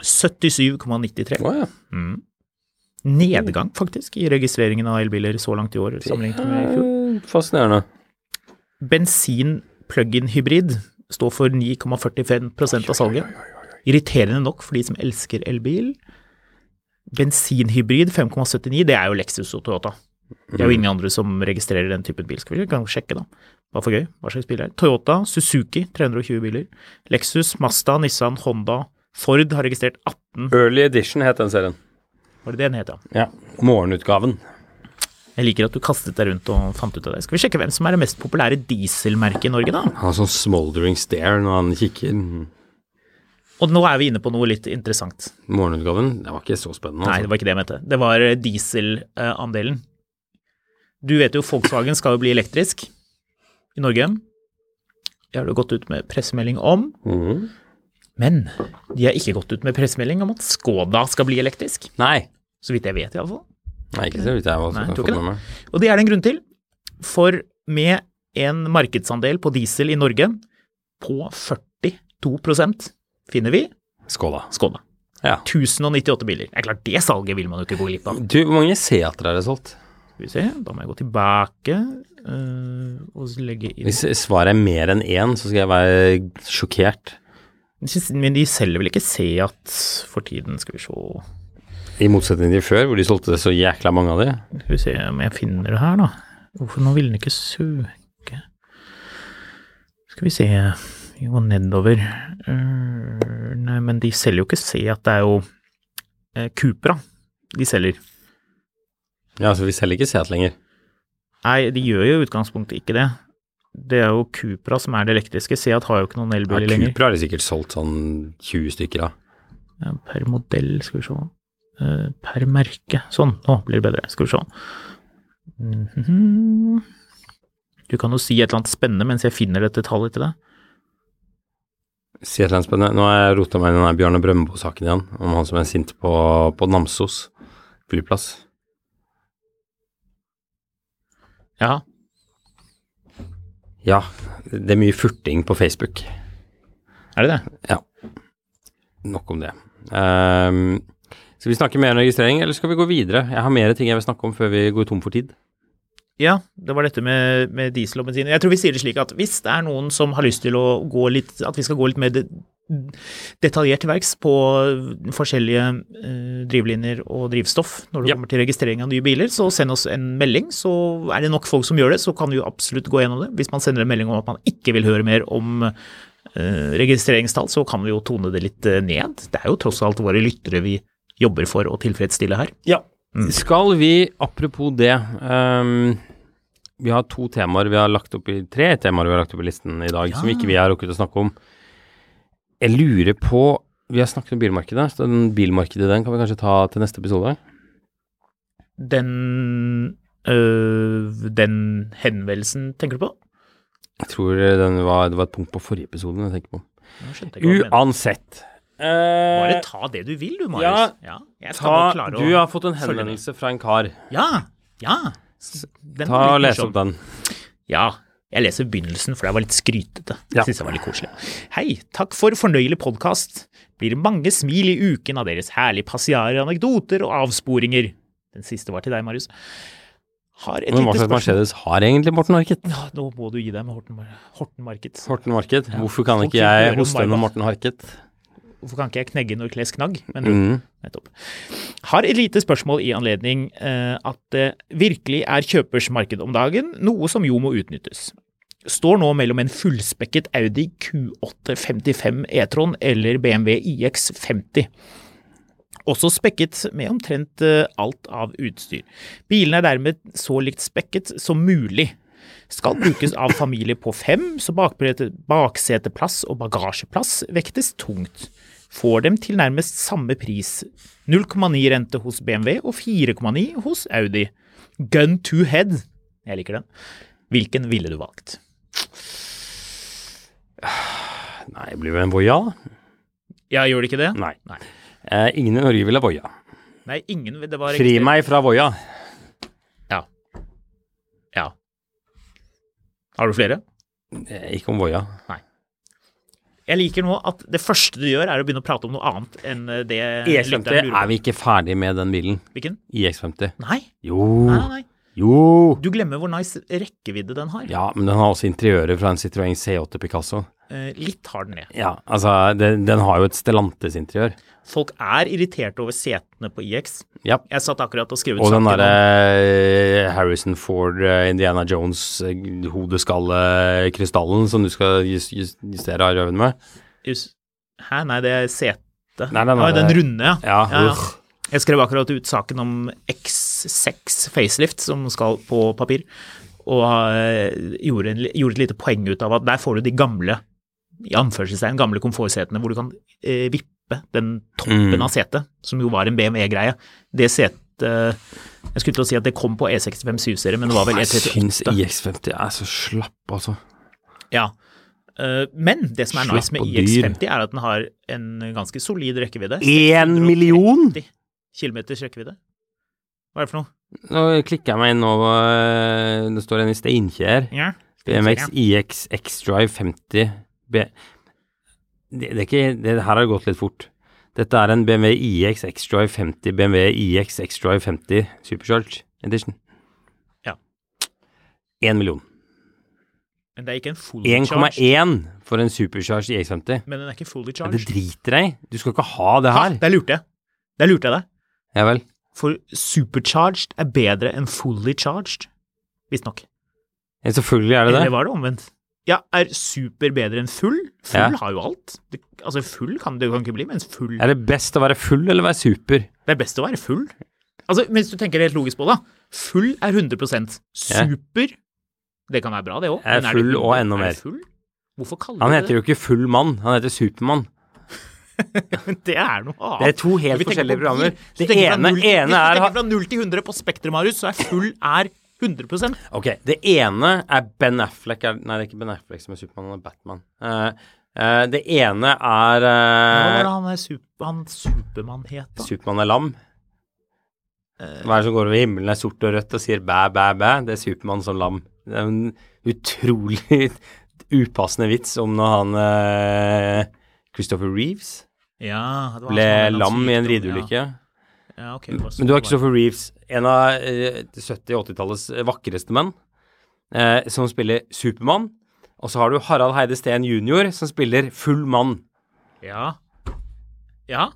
A: 77,93.
B: Å ja.
A: Mm. Nedgang, faktisk, i registreringen av elbiler så langt i år sammenlignet med i fjor.
B: Eh, Fascinerende.
A: Bensin plug-in hybrid står for 9,45 av salget. Irriterende nok for de som elsker elbil. Bensinhybrid 5,79, det er jo Lexus og Toyota. Det er jo ingen andre som registrerer den typen bil. Skal vi kan sjekke, da. Bare for gøy, hva slags bil det er. Toyota, Suzuki, 320 biler. Lexus, Mazda, Nissan, Honda. Ford har registrert 18,
B: Early Edition het den serien.
A: var det det den het, ja.
B: Ja. Morgenutgaven.
A: Jeg liker at du kastet deg rundt og fant ut av det. Skal vi sjekke hvem som er det mest populære dieselmerket i Norge, da?
B: Han har sånn smoldering stare når han kikker. Mm.
A: Og nå er vi inne på noe litt interessant.
B: Morgenutgaven, det var ikke så spennende.
A: Nei, det var ikke det jeg mente. Det var eh, dieselandelen. Du vet jo Volkswagen skal jo bli elektrisk i Norge. Det har du gått ut med pressemelding om.
B: altså. Mhm.
A: Men de har ikke gått ut med pressemelding om at Skoda skal bli elektrisk.
B: Altså. Nei.
A: Så vidt jeg vet, iallfall.
B: Nei, ikke så vidt jeg har
A: Nei, jeg
B: fått
A: tror ikke
B: med meg.
A: Og det er det en grunn til. For med en markedsandel på diesel i Norge på 42 finner vi
B: Skål, da.
A: Skoda.
B: Ja.
A: 1098 biler. Det er klart, det salget vil man jo ikke gå glipp av.
B: Du, hvor mange Seater er det solgt?
A: Skal vi se, da må jeg gå tilbake eh, og legge inn
B: Hvis svaret er mer enn én, så skal jeg være sjokkert.
A: Jeg synes- Men de selger vel ikke Seat for tiden, skal vi se
B: I motsetning til før, hvor de solgte så jækla mange av de.
A: Skal vi se om jeg finner det her, da. Hvorfor nå ville den ikke søke Skal vi se Vi går nedover. Eh, nei, men de selger jo ikke Seat, det er jo uh, Cupra de selger.
B: Ja, så vi selger ikke Seat lenger.
A: Nei, de gjør jo i utgangspunktet ikke det. Det er jo Cupra som er det elektriske. Seat har jo ikke noen
B: Ja,
A: elbiler lenger.
B: Cupra har de sikkert solgt sånn 20 stykker av.
A: Ja, Per modell, skal vi se. Eh, Per merke. Sånn, nå blir det bedre. Skal vi se. Mhm. Du kan jo si et eller annet spennende mens jeg finner dette tallet til deg.
B: Si et eller annet spennende. Nå har jeg rota meg inn i den der Bjarne Brøndbo-saken igjen, om han som er sint på, på Namsos flyplass.
A: Ja.
B: Ja, det er mye furting på Facebook.
A: Er det det?
B: Ja. Nok om det. Ehm, skal vi snakke mer om registrering, eller skal vi gå videre? Jeg har mer ting jeg vil snakke om før vi går tom for tid.
A: Ja, det var dette med, med diesel og bensin. Jeg tror vi sier det slik at hvis det er noen som har lyst til å gå litt, at vi skal gå litt mer det- detaljert til verks på forskjellige eh, drivlinjer og drivstoff når det
B: Ja.
A: kommer til registrering av nye biler, så send oss en melding. Så er det nok folk som gjør det, så kan du jo absolutt gå gjennom det. Hvis man sender en melding om at man ikke vil høre mer om eh, registreringstall, så kan vi jo tone det litt eh, ned. Det er jo tross alt våre lyttere vi jobber for å tilfredsstille her.
B: Ja. Skal vi, apropos det ehm, Vi har to temaer vi har lagt opp i Tre temaer vi har lagt opp i listen i dag, som ikke vi har rukket å snakke om. Jeg lurer på Vi har snakket om bilmarkedet, så den bilmarkedet den kan vi kanskje ta til neste episode.
A: Den øh, Den henvendelsen tenker du på?
B: Jeg tror eh, den var, det var et punkt på forrige episode jeg tenker på.
A: Nå skjønte jeg ikke hva du mente.
B: Uansett. eh,
A: Bare ta det du vil, du,
B: ja,
A: Marius. Ja, jeg skal bare
B: ta,
A: klare å
B: du har fått en
A: følge med.
B: henvendelse fra en kar.
A: Ja. ja. S- den
B: Ta
A: var
B: og
A: litt
B: Les
A: morsom.
B: opp den.
A: Ja. Jeg leser begynnelsen, for det var litt skrytete.
B: Ja.
A: Jeg Synes det var litt koselig. Hei, takk for fornøyelig podkast. Blir mange smil i uken av deres herlige passiarer, anekdoter og avsporinger. Den siste var til deg, Marius. Har et
B: Men hva
A: lite
B: slags
A: spørsmål.
B: Mercedes har egentlig Morten Harket?
A: Ja, nå må du gi deg med Horten, Mar- Horten Market.
B: Horten Market. Hvorfor kan
A: Folk
B: ikke
A: vil høre
B: jeg
A: om
B: hoste
A: Maybach.
B: med Morten Harket?
A: Hvorfor kan ikke jeg knegge når Kles knagg? Men
B: Mm.
A: nettopp. Har et lite spørsmål i anledning eh, at det virkelig er kjøpers marked om dagen, noe som jo må utnyttes. Står nå mellom en fullspekket Audi Q8 55 E-tron eller BMW IX 50. Også spekket med omtrent eh, alt av utstyr. Bilen er dermed så likt spekket som mulig. Skal brukes av familie på fem, så bakbrete- bakseteplass og bagasjeplass vektes tungt. Får dem til nærmest samme pris. 0,9 rente hos BMW og 4,9 hos Audi. Gun to head. Jeg liker den. Hvilken ville du valgt?
B: Nei, det blir vel en Voya, da?
A: Ja, gjør det ikke det?
B: Nei.
A: Nei.
B: Eh, ingen i Norge vil ha Voya.
A: Nei, ingen Det var
B: Fri
A: registrert-
B: meg fra Voya.
A: Ja. Ja. Har du flere?
B: Eh, ikke om Voya.
A: Jeg liker nå at det første du gjør, er å begynne å prate om noe annet enn eh, det
B: E50 E er vi ikke ferdig med den bilen.
A: Hvilken?
B: IX50.
A: Nei.
B: Jo.
A: Nei, nei, nei.
B: Jo.
A: Du glemmer hvor nice rekkevidde den har.
B: Ja, men den har også interiøret fra en Citroën C8 Picasso.
A: Eh, litt har den det.
B: Ja, altså, den, den har jo et Stellantes-interiør.
A: Folk er irriterte over setene på IX.
B: Ja.
A: Jeg satt akkurat og skrev ut
B: Og den
A: saken om-
B: derre eh, Harrison Ford, eh, Indiana eh, Jones-hodeskallekrystallen eh, som du skal jus jus justere av røven med.
A: Jus- Hæ, nei, det er setet.
B: Nei, nei, nei,
A: ja, den
B: det-
A: runde, ja.
B: Ja, uff.
A: Jeg skrev akkurat ut saken om X6 facelift, som skal på papir, og eh, gjorde, en, li- gjorde et lite poeng ut av at der får du de gamle i anførselstegn, gamle komfortsetene hvor du kan eh, vippe den toppen
B: Mm.
A: av setet, som jo var en BMW-greie. Det setet Jeg skulle til å si at det kom på E E65 7-serie, men det var vel
B: Jeg
A: E38.
B: syns IX50 er så slapp, altså.
A: Ja. Eh, Men det som er nice med
B: Slapp og dyr.
A: IX50, er at den har en ganske solid rekkevidde.
B: Én million?!
A: Kilometers rekkevidde. Hva er det for noe?
B: Nå klikker jeg meg inn over eh, Det står en i Steinkjer.
A: Ja.
B: BMX IX X-Drive 50 B det, det er ikke det, Her har det gått litt fort. Dette er en BMW IX X-Drive 50 BMW IX X-Drive 50 Supercharge Edition.
A: Ja.
B: Én million.
A: Men det er ikke en fully charged.
B: 1,1 for en Supercharge IX50.
A: Men den er ikke fully
B: Ja, det
A: charged.
B: driter jeg i. Du skal ikke ha det
A: Ha,
B: her.
A: der lurte jeg. Der lurte jeg deg.
B: Ja vel.
A: For supercharged er bedre enn fully charged, visstnok.
B: Ja, selvfølgelig er det
A: Eller
B: det.
A: var det omvendt? Ja, er super bedre enn full? Full
B: Ja.
A: har jo alt. Det, altså, full kan det jo ikke bli, mens full
B: Er det best å være full eller være super?
A: Det er best å være full. Altså, Mens du tenker helt logisk på det. da. Full er 100 Super Det kan være bra, det òg.
B: Er full og enda mer.
A: Hvorfor kaller
B: Han
A: du
B: heter
A: det
B: jo ikke Full mann, han heter Supermann.
A: det? [LAUGHS] Det er noe annet.
B: Det er to helt
A: Vi tenker
B: forskjellige
A: på bil.
B: programmer.
A: Hvis du
B: Det
A: tenker fra
B: ene-
A: null til-
B: ene
A: Hvis
B: er
A: du
B: ha-
A: tenker fra 0 til 100 på Spektrum, Marius, så er full er 100
B: Ok, det ene er Ben Affleck er, Nei, det er ikke Ben Affleck som er Supermann, han er Batman. Eh, Eh, det ene er
A: Hva var
B: eh,
A: det han, er sup- han Supermann het, da? Eh.
B: Supermann er lam. Hva er det som går over himmelen er sort og rødt og sier bæ, bæ, bæ? Det er Supermann som lam. Det er en utrolig [LAUGHS] upassende vits om når han eh, Christopher Reeves
A: ja, det var
B: ble
A: han som hadde
B: lam i en
A: sykdom, ja.
B: rideulykke.
A: Ja, ok, det var
B: Men du har
A: Superman.
B: Christopher Reeves, en av eh, 70- og 80-tallets vakreste menn, eh, som spiller Supermann. Og så har du Harald Heide Steen jr., som spiller full mann.
A: Ja. Ja.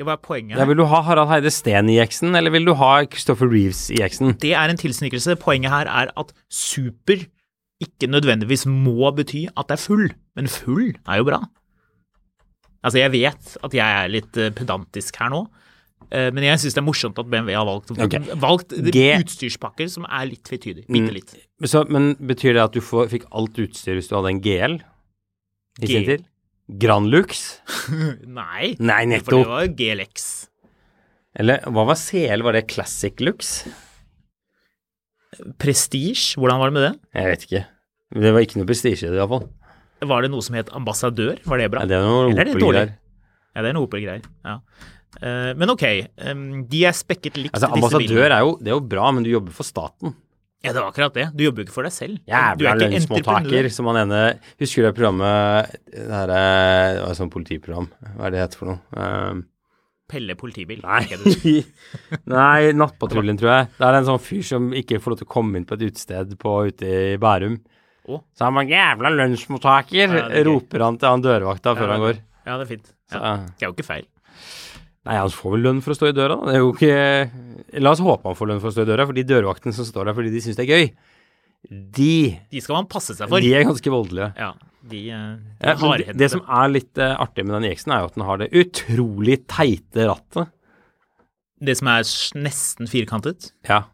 A: ja. Hva er poenget?
B: Ja,
A: her?
B: vil du ha Harald Heide Steen i X-en, eller vil du ha Christopher Reeves i X-en?
A: Det er en tilsnikelse. Poenget her er at super ikke nødvendigvis må bety at det er full, men full er jo bra. Altså, jeg vet at jeg er litt eh, pedantisk her nå, eh, men jeg syns det er morsomt at BMW har valgt,
B: Ok.
A: valgt
B: G- Mm.
A: utstyrspakker som er litt tvetydige. Bitte litt. [LAUGHS]
B: Så, men betyr det at du får, fikk alt utstyr hvis du hadde en GL i
A: G.
B: sin tid? Granlux?
A: Nei,
B: Nei,
A: for det
B: nettopp.
A: var jo GLX.
B: Eller hva var CL? Var det Classic Lux?
A: Prestige, hvordan var det med det?
B: Jeg vet ikke. Men Det var ikke noe prestisje i det, iallfall.
A: Var det noe som het ambassadør? Var det bra?
B: Det er noe
A: Eller er det dårlig?
B: Opel-greier.
A: Ja, det er noe Opel-greier. Ja. Eh, men ok, em, de er spekket likt.
B: Altså,
A: disse bilene.
B: ambassadør er jo, det er jo bra, men du jobber for staten.
A: Ja, det var akkurat det. Du jobber jo ikke for deg selv. du
B: Jævla
A: er ikke
B: lønnsmottaker,
A: entreprenør.
B: som han ene Husker du det programmet Det her, eh, det var et sånt politiprogram. Hva er det det heter for noe? Um,
A: Pelle politibil. tenker
B: [LAUGHS]
A: jeg du-
B: Nei, Nei Nattpatruljen, tror jeg. Det er en sånn fyr som ikke får lov til å komme inn på et utested på, ute i Bærum.
A: Å.
B: Så han var jævla lønnsmottaker,
A: Ja, det er gøy.
B: roper han til han dørvakta [LAUGHS] før han går.
A: Ja, det er fint. Ja.
B: Så-
A: Det er jo ikke feil.
B: Nei, han får vel lønn for å stå i døra, da. Det er jo ikke La oss håpe han får lønn for å stå i døra, for de dørvaktene som står der fordi de syns det er gøy, de,
A: De skal man passe seg for.
B: de er ganske voldelige.
A: Ja, de, eh, de
B: Ja,
A: er
B: men det,
A: hardhendte.
B: det som er litt eh, artig med den EX-en, er jo at den har det utrolig teite rattet.
A: det som er s- nesten firkantet.
B: Ja.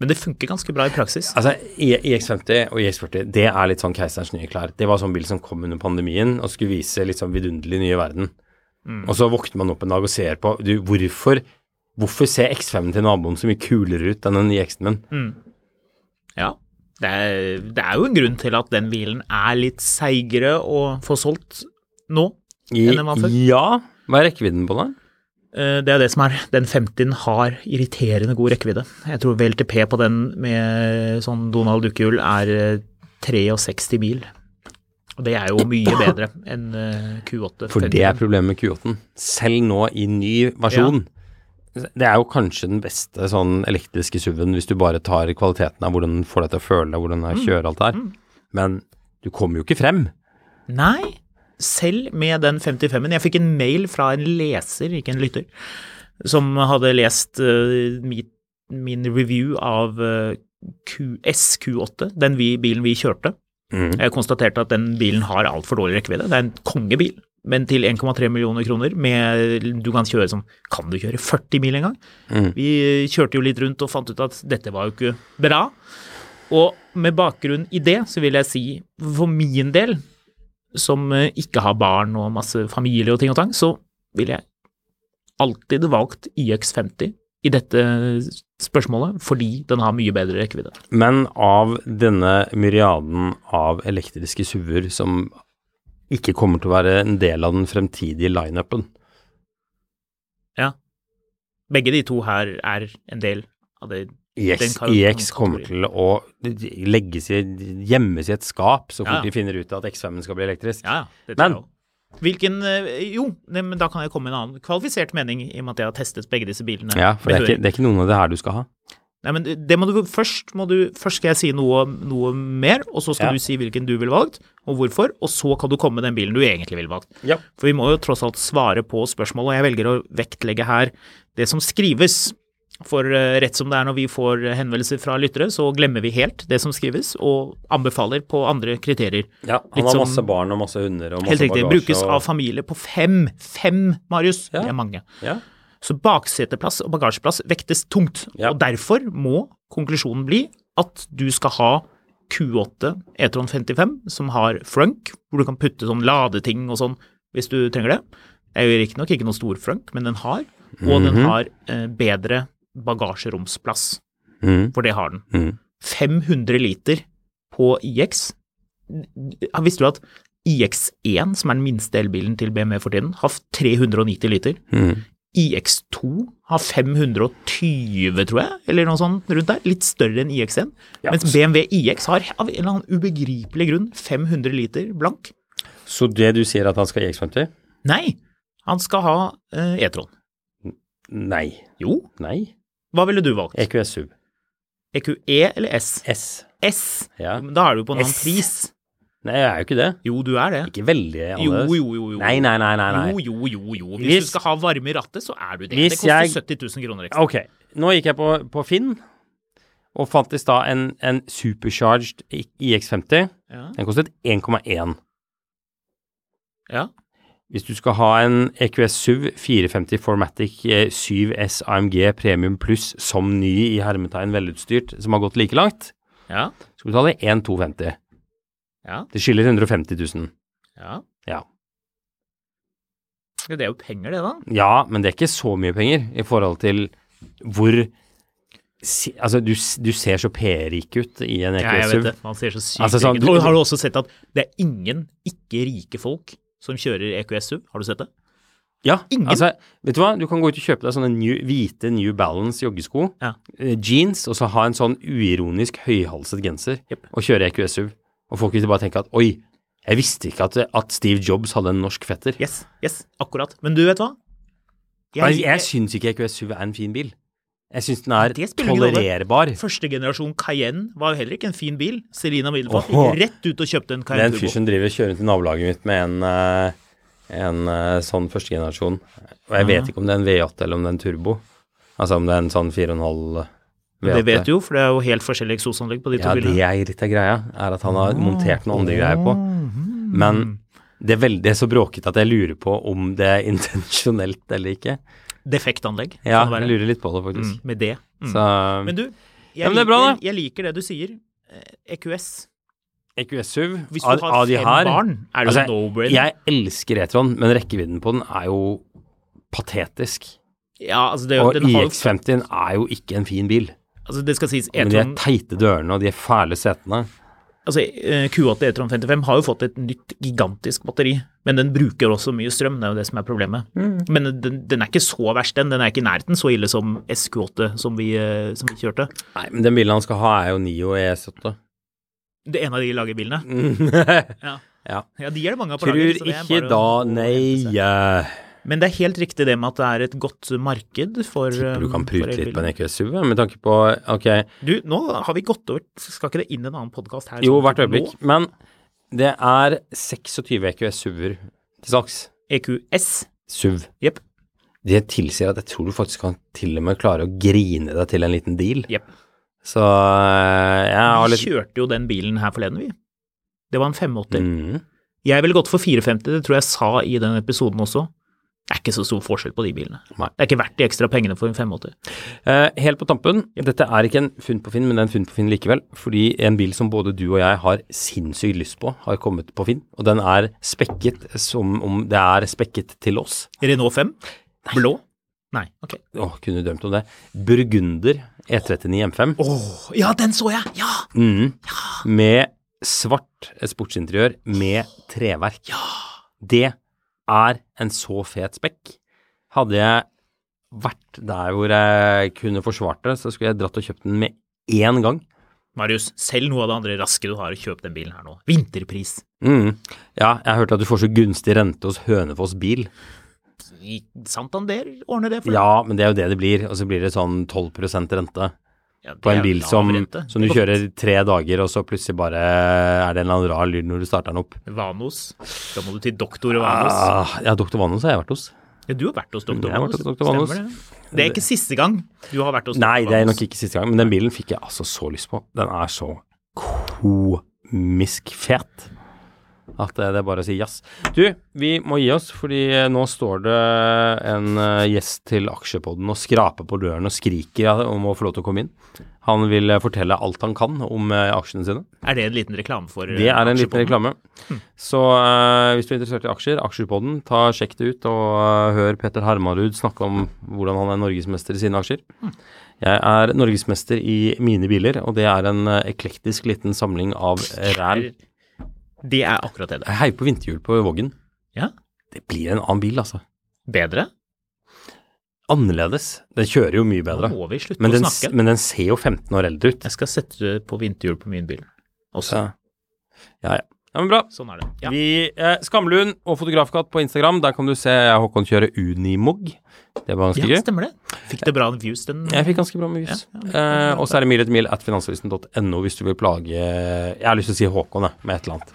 A: Men det funker ganske bra i praksis.
B: Altså, EX50 og EX40, det er litt sånn keiserens nye klær. Det var sånn bil som kom under pandemien og skulle vise litt sånn vidunderlig nye verden.
A: Mm.
B: Og så våkner man opp en dag og ser på du, hvorfor, hvorfor ser X5-en til naboen så mye kulere ut enn den EX-en min?
A: Mm. Ja. Det er, det er jo en grunn til at den bilen er litt seigere å få solgt nå
B: I,
A: enn den var før.
B: ja, hva er rekkevidden på den?
A: Eh, Det er det som er. Den 50-en har irriterende god rekkevidde. Jeg tror VLTP på den med sånn Donald Duckhjul er eh, 63 mil. Og det er jo mye bedre enn eh, Q8.
B: For det er
A: 50.
B: problemet med Q8-en. Selv nå i ny versjon. Det er jo kanskje den beste sånn elektriske SUV-en hvis du bare tar kvaliteten av hvordan den får deg til å føle deg, hvordan
A: Mm.
B: den kjører alt det her. Men du kommer jo ikke frem.
A: Nei, selv med den 55-en. Jeg fikk en mail fra en leser, ikke en lytter, som hadde lest eh, mitt, min review av eh, Q, SQ8, den vi, bilen vi kjørte. Jeg konstaterte at den bilen har altfor dårlig rekkevidde. Det er en kongebil, men til 1,3 millioner kroner med Du kan kjøre sånn Kan du kjøre 40 mil en gang? Vi kjørte jo litt rundt og fant ut at dette var jo ikke bra. Og med bakgrunn i det, så vil jeg si for min del, som eh, ikke har barn og masse familie og ting og tang, så ville jeg alltid valgt IX50 i dette spørsmålet, fordi den har mye bedre rekkevidde.
B: Men av denne myriaden av elektriske SUV-er som ikke kommer til å være en del av den fremtidige lineupen,
A: Ja. Begge de to her er en del av det. den
B: EX,
A: kan-
B: EX E kommer til å legges i, gjemmes i et skap så
A: Ja, ja.
B: fort de finner ut at X5-en skal bli elektrisk.
A: Ja, ja. Det
B: Men-
A: tror jeg også. Hvilken eh, Jo, nei, men da kan jeg komme med en annen kvalifisert mening, i og med at jeg har testet begge disse bilene.
B: Ja, for
A: med
B: det er, ikke,
A: høring.
B: det er ikke noen av det her du skal ha.
A: Nei, men det må du først må du, Først skal jeg si noe, noe mer, og så skal
B: Ja.
A: du si hvilken du ville valgt, og hvorfor, og så kan du komme med den bilen du egentlig ville valgt.
B: Ja.
A: For vi må jo tross alt svare på spørsmål, og jeg velger å vektlegge her det som skrives. For eh, rett som det er når vi får eh, henvendelser fra lyttere, så glemmer vi helt det som skrives, og anbefaler på andre kriterier.
B: han
A: Litt
B: har
A: som-
B: masse barn og masse hunder og
A: Helt
B: masse
A: riktig.
B: bagasje.
A: Brukes
B: og,
A: av familie på fem. Fem, Marius.
B: Ja.
A: Det er mange.
B: Ja.
A: Så bakseteplass og bagasjeplass vektes tungt.
B: Ja.
A: Og derfor må konklusjonen bli at du skal ha Q8 E-tron 55, som har frunk, hvor du kan putte sånn ladeting og sånn hvis du trenger det. Det er jo riktignok ikke noe stor frunk, men den har. Og den har eh, bedre bagasjeromsplass,
B: Mhm.
A: for det har den.
B: Mhm.
A: 500 liter på IX. Visste du at IX1, som er den minste elbilen til BMW for tiden, har 390 liter. IX2 har 520, tror jeg, eller noe sånt rundt der. Litt større enn IX1. Mens BMW IX har av en eller annen ubegripelig grunn 500 liter blank.
B: Så det du sier at han skal i X50?
A: Nei, han skal ha eh, E-tron.
B: Nei.
A: Jo,
B: Nei.
A: hva ville du valgt?
B: EQS Sub.
A: EQE eller S?
B: S.
A: S.
B: Ja.
A: Men Da er du på en annen
B: S.
A: pris.
B: Nei, jeg er jo ikke det.
A: Jo, du er det.
B: Ikke veldig
A: Jo,
B: annerledes.
A: jo, jo. jo.
B: Nei, nei, nei, nei, nei.
A: Jo, jo, jo, jo. Hvis,
B: Hvis-
A: du skal ha varme i rattet, så er du det.
B: Hvis
A: Det koster
B: jeg-
A: 70 000 kroner ekstra.
B: Ok, nå gikk jeg på, på Finn og fant i stad en, en supercharged I- IX50.
A: Ja.
B: Den kostet 1,1.
A: Ja.
B: Hvis du skal ha en E EQS SUV 450 Formatic eh, 7S AMG Premium Pluss som ny i hermetegn velutstyrt, som har gått like langt,
A: Ja.
B: skal du betale 1250.
A: Ja.
B: Det skiller 150 000.
A: ja.
B: Ja.
A: Ja, Det er jo penger, det, da.
B: ja, men det er ikke så mye penger i forhold til hvor si, Altså, du, s- du ser så PR-rik ut i en
A: Ja, jeg
B: EQS
A: vet
B: SUV.
A: det. Man ser så sykt
B: Altså, sånn-
A: rik ut. Og Har du også sett at det er ingen ikke-rike folk som kjører E EQS SUV? Har du sett det?
B: Ja,
A: Ingen.
B: altså, vet du hva? Du kan gå ut og kjøpe deg sånne new, hvite New Balance joggesko,
A: Ja.
B: eh, jeans, og så ha en sånn uironisk høyhalset genser
A: Jep.
B: og kjøre E EQS SUV. Og folk vil bare tenke at oi, jeg visste ikke at, at Steve Jobs hadde en norsk fetter.
A: Yes, yes, akkurat. Men du vet hva?
B: jeg jeg syns ikke E EQS SUV er en fin bil. Jeg syns den er
A: Det spiller ingen rolle.
B: tolererbar.
A: Første generasjon Cayenne var jo heller ikke en fin bil. Serena Middelfart
B: Åhå.
A: gikk rett ut og kjøpte en
B: Det er
A: Cayenne
B: en fyr
A: Turbo.
B: som driver og kjører rundt i nabolaget mitt med en, eh, en eh, sånn førstegenerasjon. Og jeg vet ikke om det er en V8 eller om det er en turbo. Altså om det er en sånn 4,5
A: Det vet du jo, for det er jo helt forskjellige eksosanlegg på de to
B: Ja, det
A: bilene.
B: er litt av greia, er at han har montert noen andre greier på.
A: Mhm.
B: Men det er, veldig, det er så bråkete at jeg lurer på om det er [LAUGHS] intensjonelt eller ikke.
A: Defektanlegg.
B: Ja,
A: kan det være.
B: jeg lurer litt på det, faktisk.
A: Mm, Med det. Mm.
B: Så
A: Men du, jeg,
B: Ja, men
A: liker,
B: det er bra, da.
A: jeg liker det du sier. Eh, EQS.
B: EQS SUV,
A: Hvis du
B: av,
A: har
B: av de
A: fem
B: her
A: barn, er det
B: altså,
A: en no-brainer.
B: Jeg elsker E-tron, men rekkevidden på den er jo patetisk.
A: Ja, altså det,
B: Og
A: den har, jo-
B: IX50 er jo ikke en fin bil.
A: altså det skal sies
B: Men de er
A: E-tron
B: teite dørene, og de er fæle setene.
A: altså, eh, Q8 E-tron 55 har jo fått et nytt gigantisk batteri, men den bruker også mye strøm. Det er jo det som er problemet.
B: Mm.
A: Men den, den er ikke så verst, den. Den er ikke i nærheten så ille som SQ8 som vi, eh, som vi kjørte.
B: Nei, men den bilen han skal ha, er jo Nio E ES8. [LAUGHS]
A: Det ene av de lagerbilene. Ja.
B: Ja.
A: ja, de er det mange av på lager.
B: Mm. Tror
A: så det er
B: ikke
A: bare å-
B: da,
A: å hente
B: nei.
A: seg.
B: eh.
A: Men det er helt riktig det med at det er et godt marked for
B: Tipper du
A: eh,
B: kan
A: for
B: prute litt
A: elbiler.
B: på en EQS SUV, ja, med tanke på Ok,
A: Du, nå har vi gått over Skal ikke det inn en annen podkast her?
B: jo,
A: som-
B: hvert øyeblikk.
A: Nå?
B: Men det er 26 EQS SUV-er til salgs.
A: E EQS.
B: SUV.
A: Jepp.
B: Det tilsier at jeg tror du faktisk kan til og med klare å grine deg til en liten deal.
A: Jepp.
B: Så eh, jeg har
A: Vi
B: litt
A: kjørte jo den bilen her forleden, vi. Det var en 580.
B: mm.
A: Jeg ville gått for 450, det tror jeg sa i den episoden også. Det er ikke så stor forskjell på de bilene.
B: Nei.
A: Det er ikke verdt de ekstra pengene for en 580.
B: Eh, Helt på tampen, dette er ikke en funn på Finn, men det er en funn på Finn likevel. Fordi en bil som både du og jeg har sinnssykt lyst på, har kommet på Finn. Og den er spekket som om det er spekket til oss.
A: Renault 5? Blå? Nei. ok.
B: Åh, kunne drømt om det. Burgunder E39 M5
A: Åh, ja, den så jeg! Ja!
B: mm, med svart sportsinteriør med treverk. Det er en så fet spekk. Hadde jeg vært der hvor jeg kunne forsvart det, så skulle jeg dratt og kjøpt den med én gang.
A: Marius, selg noe av det andre raske du har, og kjøp den bilen her nå. Vinterpris.
B: Mm. Ja, jeg hørte at du får så gunstig rente hos Hønefoss bil.
A: I Santander ordner det for deg.
B: Ja, men det er jo det det blir. Og så blir det sånn 12 rente.
A: Ja, det
B: på
A: er
B: en bil
A: lav
B: som,
A: rente.
B: som du
A: Det er
B: kjører tre dager, og så plutselig bare er det en eller annen rar lyd når du starter den opp.
A: Vanos. Da må du til doktor Vanos.
B: Ah, ja, Dr. Vanos har jeg vært hos.
A: Ja, du har vært hos doktor
B: Jeg har vært
A: Vanos.
B: hos Dr. Vanos.
A: Stemmer det. Det er ikke siste gang du har vært hos
B: Nei,
A: Dr.
B: det er
A: Vanos.
B: nok ikke siste gang, men den bilen fikk jeg altså så lyst på. Den er så komisk fet at det det er bare å si jazz. Du, vi må gi oss, fordi eh, nå står det en eh, gjest til Aksjepodden og skraper på døren og skriker ja, om å få lov til å komme inn. Han vil eh, fortelle alt han kan om eh, aksjene sine.
A: Er det en liten reklame for
B: Det er en liten
A: aksjepodden? Hmm.
B: reklame. Så eh, hvis du er interessert i aksjer, Aksjepodden, ta sjekk det ut og eh, hør Petter Hermarud snakke om hvordan han er norgesmester i sine aksjer.
A: Hmm.
B: Jeg er norgesmester i mine biler, og det er en eh, eklektisk liten samling av ræl.
A: Det er akkurat det det er.
B: Jeg heier på vinterhjul på Vågen.
A: Ja,
B: Det blir en annen bil, altså.
A: bedre.
B: Annerledes. Den kjører jo mye bedre.
A: Nå må vi slutte
B: men,
A: å
B: den,
A: snakke.
B: men den ser jo 15 år eldre ut.
A: Jeg skal sette det på vinterhjul på min bil også.
B: Ja, ja. ja. ja men bra.
A: Sånn er det. Ja.
B: Vi, eh, Skamlund og Fotografkatt på Instagram, der kan du se Håkon kjøre Unimog. Det var ganske
A: ja,
B: gøy.
A: stemmer det. Fikk det bra views den
B: Jeg fikk ganske bra med views.
A: Ja, ja.
B: eh, og så er det mil etter mil at finansavisen.no hvis du vil plage Jeg har lyst til å si Håkon, jeg, med et eller annet.